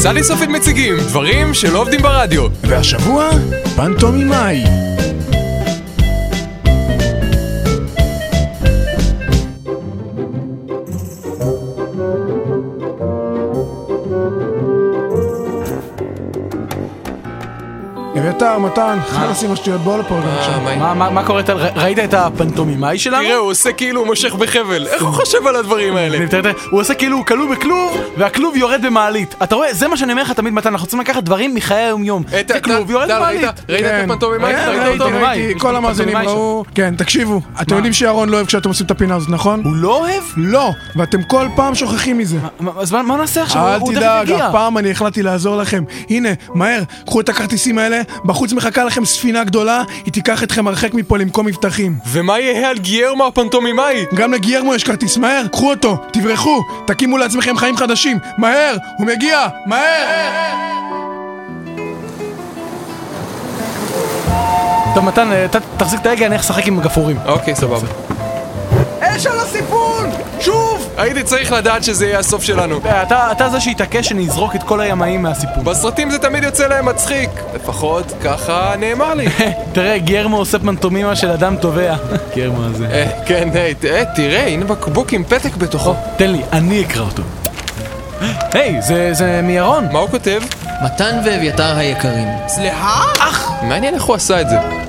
סלי סופית מציגים דברים שלא עובדים ברדיו. אה? והשבוע, פנטומימאי. אביתר, מתן, חלאס עם השטויות, בואו לפה גם עכשיו. מה- מה מה קורה טל? ר- ראית את הפנטומימאי שלנו? תראה, הוא עושה כאילו הוא מושך בחבל, איך הוא חושב על הדברים האלה? אני מתאר- הוא עושה כאילו הוא כלוא בכלוב, והכלוב יורד במעלית. אתה רואה? זה מה שאני אומר לך תמיד, מתן, אנחנו צריכים לקחת דברים מחיי היום-יום. אה, ת- זה כלוב ת- יורד טל, במעלית. ראית? ראית את הפנטומימאי? כן, ראית ראיתי, אותו? פנטומימאי. ראיתי, יש כל המאזינים פנטומימאי ראו... כן, תקשיבו, אתם יודעים שירון לא אוהב כשאתם עושים את הפינה הזאת, נכון? הוא לא אוהב? לא, ואתם כל פעם שוכחים מזה. מה- אז מה- מה נעשה עכשיו? אל הוא- הוא תדאג, תכף יגיע. הפעם אני החלטתי לעזור לכם. הנה, מהר, קחו את הכרטיסים האלה, בחוץ מחכה לכם ספינה גדולה, היא תיקח אתכם הרחק מפה למקום מבטחים. ומה יהיה על גיירמו הפנטומימאי? גם לגיירמו יש כרטיס, מהר, קחו אותו, תברחו, תקימו לעצמכם חיים חדשים, מהר, הוא מגיע, מהר! טוב, מתן, אה, ת- תחזיק את ההגה, אני הולך לשחק עם הגפורים. אוקיי, סבבה. אש על הסיפון! שוב! הייתי צריך לדעת שזה יהיה הסוף שלנו. אה, אתה אתה זה שהתעקש שנזרוק את כל הימאים מהסיפון. בסרטים זה תמיד יוצא להם מצחיק. לפחות ככה נאמר לי. אה, תראה, גרמו עושה פנטומימה של אדם טובע. גרמו הזה. אה, כן, אה, ת- אה, תראה, הנה בקבוק עם פתק בתוכו. תן לי, אני אקרא אותו. היי, זה, זה מירון. מה הוא כותב? מתן ואביתר היקרים, סליחה? אח! מעניין איך הוא עשה את זה.